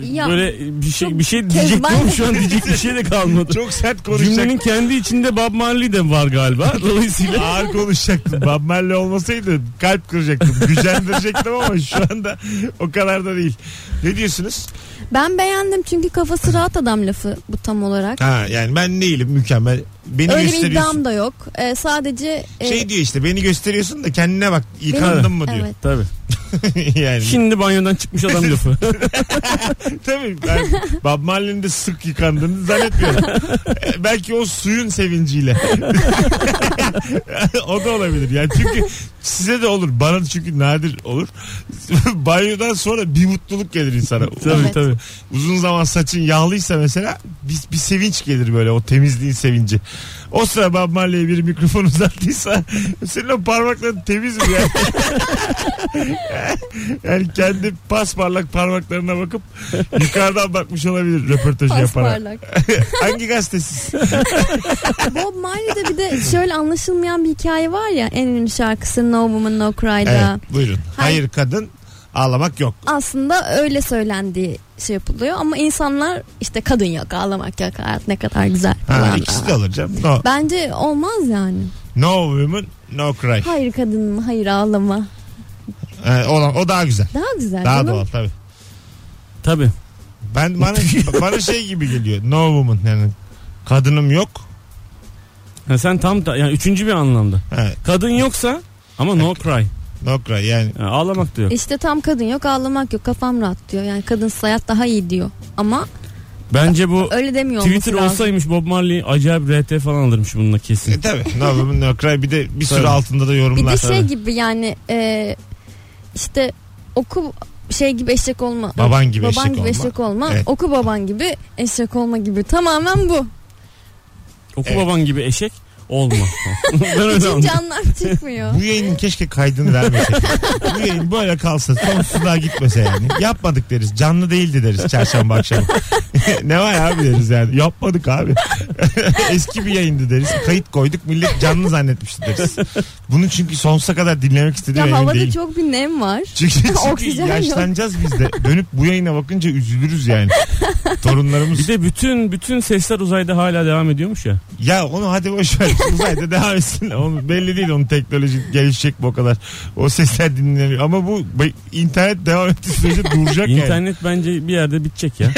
e,
Ya,
böyle bir şey
çok
bir şey diyecektim
kezban.
ama şu an diyecek bir şey de kalmadı.
Çok sert konuşacak.
Cümlenin kendi içinde Bob Marley de var (laughs) galiba. Dolayısıyla
Ağır konuşacaktım. Bob Marley olmasaydı kalp kıracaktım. Gücendirecektim ama şu anda o kadar da değil. Ne diyorsunuz?
Ben beğendim çünkü kafası rahat adam lafı bu tam olarak.
Ha, yani ben değilim mükemmel. Beni
Öyle bir
gösteriyorsun.
iddiam da yok. Ee, sadece e,
Şey diyor işte beni gösteriyorsun da kendine bak yıkandın
Benim-
mı diyor.
evet.
Tabii.
(laughs) yani
Şimdi banyodan çıkmış
(laughs)
adam lafı.
tabii ben Bob Marley'nin de sık yıkandığını zannetmiyorum. E, Belki o suyun sevinciyle. (laughs) o da olabilir. Yani çünkü size de olur. Bana çünkü nadir olur. (laughs) Banyodan sonra bir mutluluk gelir insana.
tabii
Evet.
tabii.
Uzun zaman saçın yağlıysa mesela bir, bir sevinç gelir böyle o temizliğin sevinci. O sıra Bob Marley'e bir mikrofon uzattıysa (laughs) senin o parmakların temiz mi yani? (laughs) yani kendi pasparlak parmaklarına bakıp yukarıdan bakmış olabilir röportajı yaparak.
Pasparlak.
Hangi gazetesiz?
Bob Marley'de bir de şöyle anlaşılmayan bir hikaye var ya en ünlü şarkısı No Woman No Cry'da.
Evet, buyurun.
Hayır.
Hayır kadın ağlamak yok.
Aslında öyle söylendiği şey yapılıyor ama insanlar işte kadın yok ağlamak yok hayat ne kadar güzel
Ha,
falan.
ikisi de olur canım. No.
Bence olmaz yani.
No woman no cry.
Hayır kadın hayır ağlama.
Ee, o, o daha güzel.
Daha güzel.
Daha
canım.
doğal tabii.
Tabii.
Ben bana bana şey gibi geliyor. No woman yani kadınım yok.
Ha, sen tam da yani üçüncü bir anlamda.
Ha,
Kadın yoksa ama no cry.
no cry yani
Ha, ağlamak da yok.
İşte tam kadın yok ağlamak yok kafam rahat diyor. Yani kadın hayat daha iyi diyor. Ama
Bence bu
öyle demiyor olması
Twitter
lazım.
olsaymış Bob Marley acayip RT falan alırmış bununla
E
kesin.
tabii. No woman no cry. Bir de bir sürü
Tabii.
altında da
Bir
yorumlar.
de şey
Tabii.
gibi yani e, işte oku şey gibi eşek olma.
Baban gibi eşek olma.
eşek olma.
Evet.
Oku baban gibi eşek olma gibi.
(laughs)
Tamamen bu.
Oku
Evet.
baban gibi eşek
(laughs)
olma. ben öyle
Hiç
anladım.
anlam çıkmıyor.
Bu yayının keşke kaydını vermesek. Bu yayın böyle kalsa sonsuzluğa gitmese yani. Yapmadık deriz. Canlı değildi deriz çarşamba akşamı. (laughs) ne var abi deriz yani. Yapmadık abi. (laughs) Eski bir yayındı deriz. Kayıt koyduk millet canlı zannetmişti deriz. Bunu çünkü sonsuza kadar dinlemek istediği
ya
bir yayın
havada
değil.
çok bir nem var. (laughs)
Çünkü, çünkü
Oksijen yok.
yaşlanacağız biz de. Dönüp bu yayına bakınca üzülürüz yani. Torunlarımız
Bir de bütün bütün sesler uzayda hala devam ediyormuş ya.
Ya onu hadi boş ver. Uzayda devam etsin. Onu belli değil onun teknoloji gelişecek bu kadar. O sesler dinleniyor. Ama bu be- internet devam ettiği sürece duracak yani.
İnternet bence bir yerde bitecek ya.
(laughs)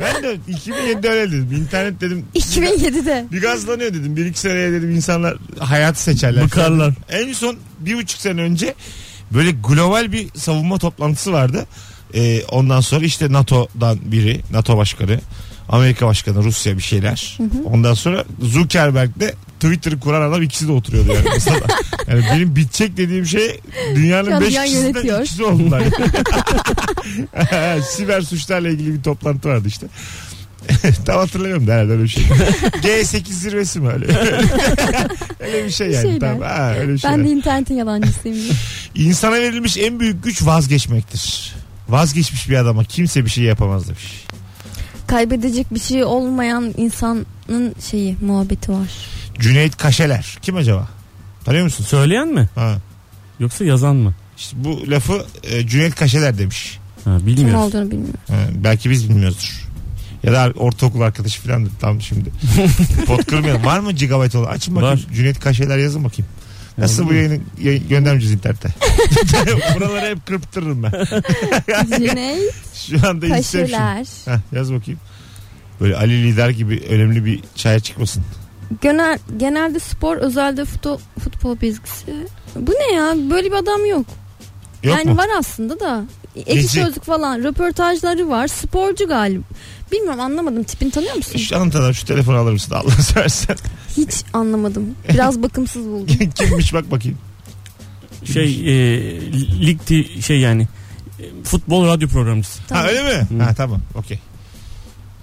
Ben de 2007'de öyle dedim. İnternet dedim
2007'de.
bir gazlanıyor dedim. Bir iki seneye dedim insanlar hayatı seçerler.
Bıkarlar.
En son bir buçuk sene önce böyle global bir savunma toplantısı vardı. Ee, ondan sonra işte NATO'dan biri, NATO başkanı, Amerika başkanı, Rusya bir şeyler. Ondan sonra Zuckerberg'de Twitter'ı kuran adam ikisi de oturuyordu yani masada. yani benim bitecek dediğim şey
Şu
dünyanın
an
5
dünya
kişisinden
yönetiyor.
ikisi oldular. (laughs) Siber suçlarla ilgili bir toplantı vardı işte. Tam hatırlamıyorum da herhalde öyle bir
(laughs)
şey. G8 zirvesi mi öyle? öyle bir şey yani.
Şeyler.
Tamam. Ha, öyle bir şey.
Ben de internetin yalancısıyım.
İnsana verilmiş en büyük güç vazgeçmektir. Vazgeçmiş bir adama kimse bir şey yapamaz demiş.
Kaybedecek bir şey olmayan insanın şeyi muhabbeti var.
Cüneyt Kaşeler. Kim acaba? Tanıyor musun?
Söyleyen mi?
Ha.
Yoksa yazan mı?
İşte bu lafı e, Cüneyt Kaşeler demiş.
Ha,
Kim
bilmiyorum.
(laughs)
olduğunu bilmiyorum.
Ha, Ee, belki biz bilmiyoruzdur. Ya da ortaokul arkadaşı falan tam şimdi.
(laughs)
Pot kırmayalım. Var mı gigabyte olan? Açın bakayım.
Var.
Cüneyt Kaşeler yazın bakayım. Nasıl bu yayını yayın, göndermeyeceğiz
(laughs)
internete? (laughs) Buraları hep kırptırırım ben.
Cüneyt
Şu anda Inception.
Kaşeler.
Heh, yaz bakayım. Böyle Ali Lider gibi önemli bir çaya çıkmasın.
Genel, genelde spor özelde futbol, futbol bilgisi. Bu ne ya? Böyle bir adam yok.
Yok
yani
mu?
var aslında da. Ekşi
Gece.
sözlük falan röportajları var. Sporcu galiba. Bilmiyorum anlamadım. Tipini tanıyor musun?
E, Şu anlatan şu telefonu alır mısın Allah (laughs)
(laughs)
seversen.
Hiç anlamadım. Biraz bakımsız
(laughs)
buldum.
Kimmiş bak bakayım.
Şey e, lig ti- şey yani e, futbol radyo programcısı.
Tamam.
Ha öyle mi?
Hı.
Ha tamam okey.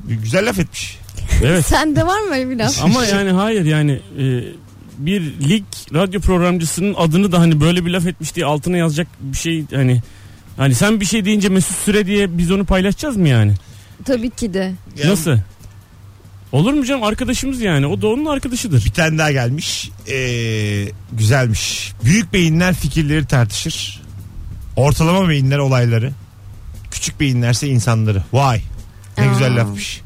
Güzel laf etmiş.
Evet.
Sende var mı öyle bir laf?
Ama yani hayır yani e, bir lig radyo programcısının adını da hani böyle bir laf etmiş diye altına yazacak bir şey hani hani sen bir şey deyince Mesut Süre diye biz onu paylaşacağız mı yani?
Tabii ki de.
Ya,
Nasıl? Olur mu canım arkadaşımız yani o da onun arkadaşıdır.
Bir tane daha gelmiş. Ee, güzelmiş. Büyük beyinler fikirleri tartışır. Ortalama beyinler olayları. Küçük beyinlerse insanları. Vay. Ne
Aa.
güzel lafmış.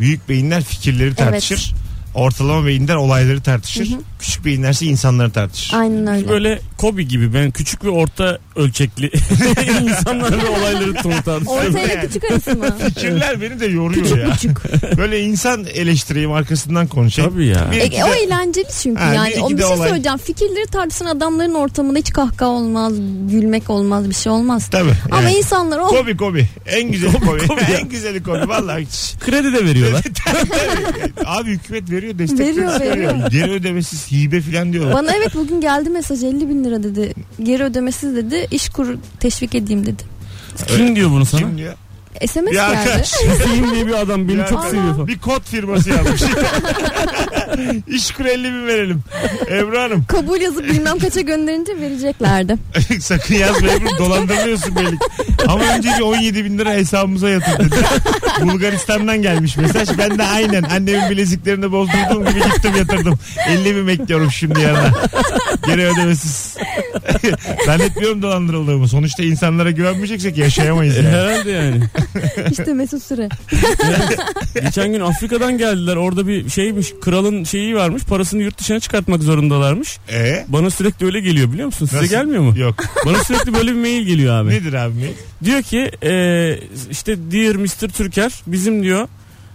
Büyük beyinler fikirleri tartışır. Ortalama beyinler olayları tartışır.
Hı hı.
Küçük beyinlerse insanları tartışır.
Aynen öyle.
Böyle Kobi gibi ben küçük ve orta ölçekli (laughs) insanlar ve olayları tartışıyorum.
Orta ile
Yani.
küçük
(laughs)
arası mı?
Fikirler beni de yoruyor
küçük
ya.
küçük.
(laughs) Böyle insan eleştireyim arkasından konuşayım.
Tabii ya.
Bir-
E, o eğlenceli çünkü
Ha, bir
yani.
iki
O bir
de
şey
olay.
söyleyeceğim. Fikirleri tartışan adamların ortamında hiç kahkaha olmaz, gülmek olmaz, bir şey olmaz.
Tabii.
Ama
Evet.
insanlar "Oh, o
Kobi kobi. En güzeli kobi.
kobi ya.
en güzeli kobi. Vallahi hiç.
Kredi
(laughs)
de veriyorlar.
Abi hükümet veriyor destek
Veriyor,
veriyor.
veriyor.
Geri ödemesiz hibe filan diyorlar.
Bana evet bugün geldi mesaj 50 bin lira dedi. Geri ödemesiz dedi. İş kuru teşvik edeyim dedi.
Kim diyor bunu sana?
Kim diyor?
SMS
Ya
geldi.
arkadaş.
Hüseyin diye bir adam beni
Ya.
çok
Aman.
seviyor. falan.
Bir kod firması yazmış. (laughs) İşkur 50 bin verelim. Ebru Hanım
Kabul yazıp bilmem kaça gönderince vereceklerdi.
(laughs) sakın yazma Ebru dolandırmıyorsun belli. ki. Ama önce bir 17 bin lira hesabımıza yatır dedi. (laughs) Bulgaristan'dan gelmiş mesaj. Ben de aynen annemin bileziklerini bozdurduğum gibi gittim yatırdım. 50 bin bekliyorum şimdi yarına. Geri ödemesiz. (laughs) Zannetmiyorum dolandırıldığımı. Sonuçta insanlara güvenmeyeceksek yaşayamayız
E, (laughs)
yani.
Herhalde yani.
(laughs)
İşte Mesut Süre.
Geçen gün Afrika'dan geldiler. Orada bir şeymiş. Kralın şeyi varmış. Parasını yurt dışına çıkartmak zorundalarmış.
Ee?
Bana sürekli öyle geliyor biliyor musun? Size
Nasıl? (laughs)
gelmiyor mu? (laughs)
Yok.
Bana sürekli böyle bir mail geliyor abi.
Nedir abi? mail?
Diyor ki e, işte Dear Mr. Türker bizim diyor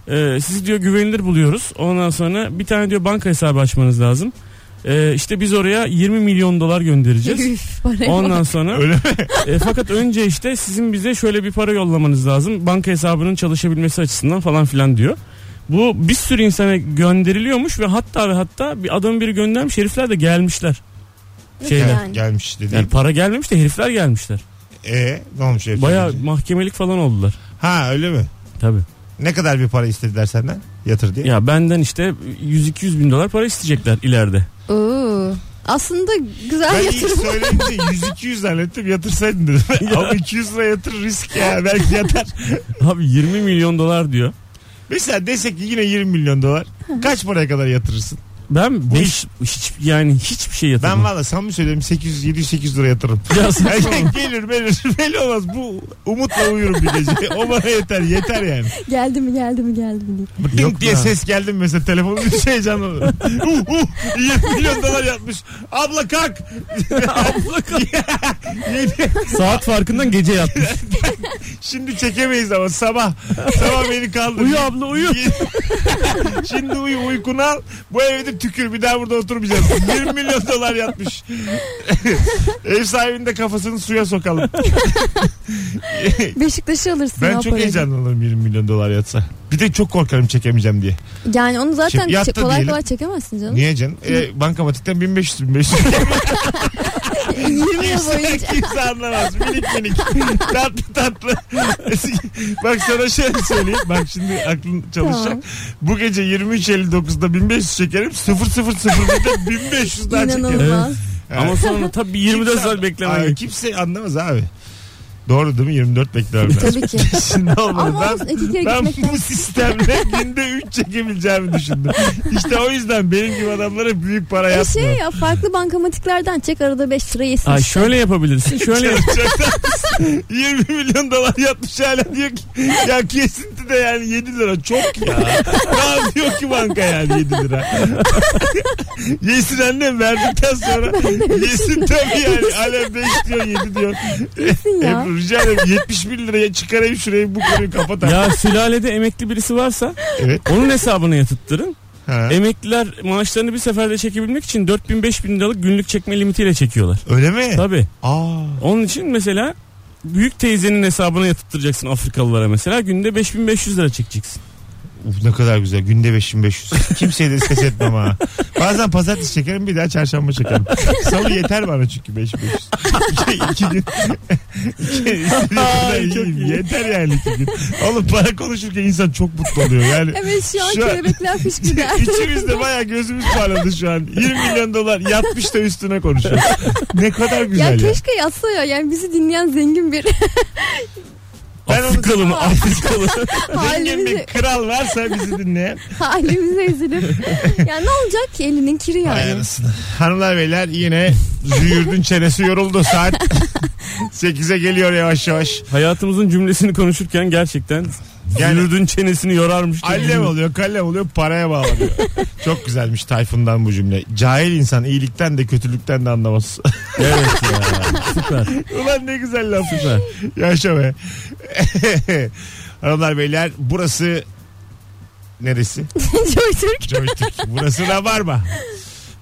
e, sizi diyor güvenilir buluyoruz. Ondan sonra bir tane diyor banka hesabı açmanız lazım. E, işte biz oraya 20 milyon dolar
(laughs)
göndereceğiz.
Üf, paraya bak.
Ondan sonra
Öyle mi?
e, fakat önce işte sizin bize şöyle bir para yollamanız lazım. Banka hesabının çalışabilmesi açısından falan filan diyor. Bu bir sürü insana gönderiliyormuş ve hatta ve hatta bir adam biri göndermiş herifler de gelmişler.
Nasıl
Şeyler.
yani?
Gelmiş dedi.
Yani para gelmemiş de herifler gelmişler.
Ee, ne olmuş herif?
Baya mahkemelik falan oldular.
Ha öyle mi?
Tabii.
Ne kadar bir para istediler senden? Yatır diye.
Ya benden işte 100-200 bin dolar para isteyecekler ileride. (laughs)
Oo. Aslında güzel
Ben ilk
yatırım.
söyleyince 100-200 zannettim yatırsaydın dedim.
(laughs)
Ama 200 lira yatır risk ya belki yatar.
Abi 20 milyon dolar diyor.
Mesela desek ki yine 20 milyon dolar. Kaç paraya kadar yatırırsın?
Ben
Bu
5 hiç yani hiçbir şey
Ben
yatırmam.
valla samimi söylüyorum 800-700-800 lira yatırırım.
Ya saçma.
Yani gelir belir belli (laughs) olmaz bu umutla uyurum bir gece. O bana yeter yeter yani.
(laughs) geldi mi geldi mi geldi mi diye.
Ding
Yok
diye
be.
ses geldi mi mesela telefonum bir şey heyecanlanır. uh, uh, 20 milyon dolar yatmış. Abla
(laughs)
kalk.
Abla kal- Saat farkından
(laughs)
gece yatmış.
Şimdi çekemeyiz ama sabah. Sabah beni kaldır.
Uyu abla uyu.
Şimdi (laughs) uyu uykunu al. Bu evde tükür bir daha burada oturmayacağız. 1 milyon dolar yatmış. (laughs) Ev sahibinin de kafasını suya sokalım.
Beşiktaş'ı alırsın
ben
ya
çok
parayı.
heyecanlanırım 20 milyon dolar yatsa. Bir de çok korkarım çekemeyeceğim diye.
Yani onu zaten
Şimdi yattı
çe- kolay
diyelim.
kolay çekemezsin canım.
Niye canım? E, bankamatikten 1500
(laughs)
1500.
20 yıl
kimse,
boyunca.
kimse anlamaz. Minik minik. tatlı tatlı. (laughs) Bak sana şöyle söyleyeyim. Bak şimdi aklın çalışacak.
Tamam.
Bu gece 23.59'da 1500 çekerim. 00.01'de 1500 daha çekerim.
İnanılmaz.
Ha.
Ama sonra tabii bir 24
Kimse-
saat beklemen
Ay,
gerekiyor.
Kimse anlamaz abi. Doğru değil mi? 24 bekliyorum ben.
Tabii ki.
(laughs) Şimdi olmadı.
Ama
ben,
olsun, iki kere
ben
gitmekten-
bu sistemle günde 3 çekebileceğimi düşündüm. İşte o yüzden benim gibi adamlara büyük para
E
yatmıyor.
şey ya farklı bankamatiklerden çek arada 5 lira yesin.
Ay
işte.
şöyle yapabilirsin.
(laughs)
Şöyle yap-
Çok tatlısın. 20 milyon dolar yatmış hala diyor ki ya kesinti de yani 7 lira çok ya. Ne yapıyor ki banka yani 7 lira. yesin annem verdikten sonra yesin tabii yani. Hala 5 diyor 7 diyor.
Yesin ya.
Ebru rica ederim 70 bin liraya çıkarayım şurayı bu konuyu kapatalım.
ya sülalede emekli birisi varsa
Evet.
onun hesabını yatırttırın.
Ha.
Emekliler maaşlarını bir seferde çekebilmek için 4000-5000 liralık günlük çekme limitiyle çekiyorlar.
Öyle mi?
Tabii.
Aa.
Onun için mesela büyük teyzenin hesabına yatırtıracaksın Afrikalılara mesela. Günde 5500 lira çekeceksin.
Uf, ne kadar güzel. Günde 5500. Kimseye de ses etmem ha. Bazen pazartesi çekerim bir daha çarşamba çekerim. Salı yeter bana çünkü 5500. iki, şey, iki gün. İki- istediğim kadar
Ay, çok
yiyeyim.
iyi.
Yeter yani iki gün. Oğlum para konuşurken insan çok mutlu oluyor. Yani
Evet şu an
Şu an- (laughs)
kelebekler fışkırdı.
İçimizde baya gözümüz parladı şu an. 20 milyon dolar yatmış da üstüne konuşuyoruz. Ne kadar
Ya
güzel ya.
keşke yatsa ya. Yani bizi dinleyen zengin bir (laughs)
Ben onu-
Afrikalı mı? Afrikalı.
(laughs) Zengin bir
halimize,
kral varsa bizi dinleyen.
halimize üzülür.
(laughs)
ya ne olacak ki elinin kiri
Vay
(laughs) yani.
anasını. Hanımlar beyler yine züğürdün çenesi yoruldu
(laughs)
saat 8'e geliyor yavaş yavaş.
Hayatımızın cümlesini konuşurken gerçekten
Yani-
yani, çenesini yorarmış. gibi.
Allem oluyor kallem oluyor paraya bağlanıyor. Çok güzelmiş Tayfun'dan bu cümle. Cahil insan iyilikten de kötülükten de anlamaz.
(laughs) Evet ya. Süper.
Ulan ne güzel laf güzel. Yaşa be. (laughs) Hanımlar beyler burası neresi?
Joy Türk.
Joystick. Burası Rabarba.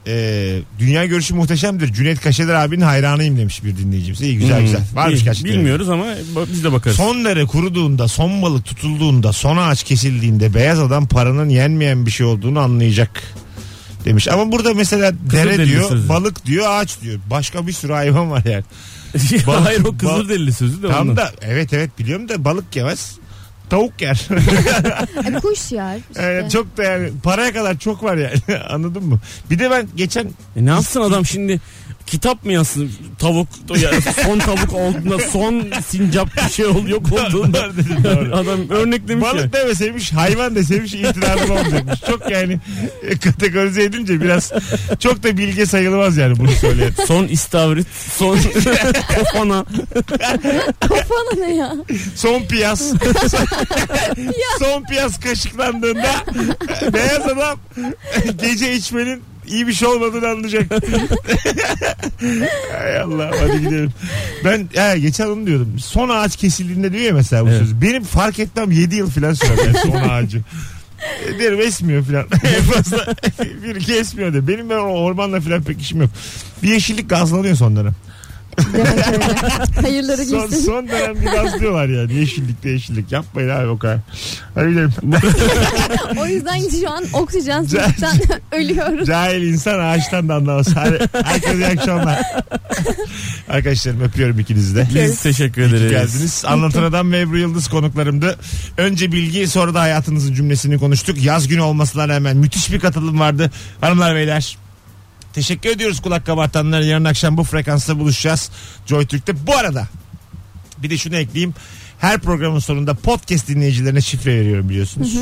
Ee, dünya görüşü muhteşemdir. Cüneyt Kaşeder abinin hayranıyım demiş bir dinleyicimiz. İyi güzel
Hmm.
güzel. Varmış
İyi,
gerçekten.
Bilmiyoruz ama ba- biz de bakarız.
Son dere kuruduğunda, son balık tutulduğunda, son ağaç kesildiğinde beyaz adam paranın yenmeyen bir şey olduğunu anlayacak demiş. Ama burada mesela dere
Kızılderili
diyor,
sözü.
balık diyor, ağaç diyor. Başka bir sürü hayvan var yani. Bal-
(laughs) Hayır o
bal-
Kızılderili sözü de
Tam
ondan.
da evet evet biliyorum da balık yemez. Tavuk yer. (laughs)
E, kuş yer. Işte.
Yani çok da (laughs) yani paraya kadar çok var yani. Anladın mı? Bir de ben geçen
E ne yapsın adam şimdi kitap mı yazsın tavuk yani son tavuk olduğunda son sincap bir şey ol yok olduğunda
Doğru dedim, doğru.
adam örneklemiş ya.
Balık demeseymiş hayvan deseymiş itirazım olmayacakmış. Çok yani e, kategorize edince biraz çok da bilge sayılmaz yani bunu söyleyen.
Son istavrit, son kofana.
Kafana ne
(laughs)
ya?
Son piyas. (laughs) Son piyas kaşıklandığında beyaz adam gece içmenin iyi bir şey olmadığını anlayacak. Hay Allah hadi gidelim. Ben ya, geçen onu diyordum. Son ağaç kesildiğinde diyor ya mesela bu
Evet.
söz. Benim fark etmem 7 yıl falan sürer yani son ağacı. E, Derim esmiyor filan. (laughs) En fazla bir iki esmiyor de. Benim ben o ormanla filan pek işim yok. Bir yeşillik gazlanıyor son dönem.
Demek öyle. Hayırları
Son,
gitsin.
son dönem bir gazlıyorlar yani. Yeşillikte yeşillik. Yapmayın abi o kadar. Hadi gidelim. (laughs)
O yüzden şu an oksijensizlikten (laughs) ölüyoruz.
Cahil insan ağaçtan da anlamaz. Hadi, herkese iyi akşamlar. Arkadaşlarım öpüyorum ikinizi de.
Biz teşekkür
İyi ki
ederiz.
geldiniz. Anlatan Adam ve Ebru Yıldız konuklarımdı. Önce bilgi sonra da hayatınızın cümlesini konuştuk. Yaz günü olmasına rağmen müthiş bir katılım vardı. Hanımlar beyler teşekkür ediyoruz kulak kabartanlara. Yarın akşam bu frekansta buluşacağız. Joy Türk'te. Bu arada bir de şunu ekleyeyim. Her programın sonunda podcast dinleyicilerine şifre veriyorum biliyorsunuz.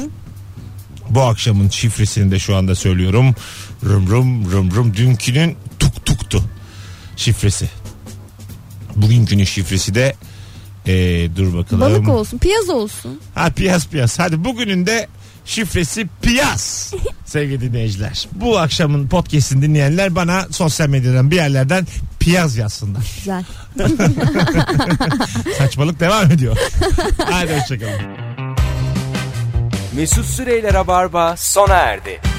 Bu akşamın şifresini de şu anda söylüyorum. Rum rum rum rum dünkünün tuk tuktu şifresi. Bugünkünün şifresi de ee, dur bakalım.
Balık olsun, piyaz olsun.
Ha piyas piyas. Hadi bugünün de şifresi piyas. Sevgili dinleyiciler. Bu akşamın podcast'ini dinleyenler bana sosyal medyadan bir yerlerden piyaz yazsınlar.
Güzel.
Saçmalık devam ediyor. Hadi hoşçakalın.
Mesut Süreyler'e barba sona erdi.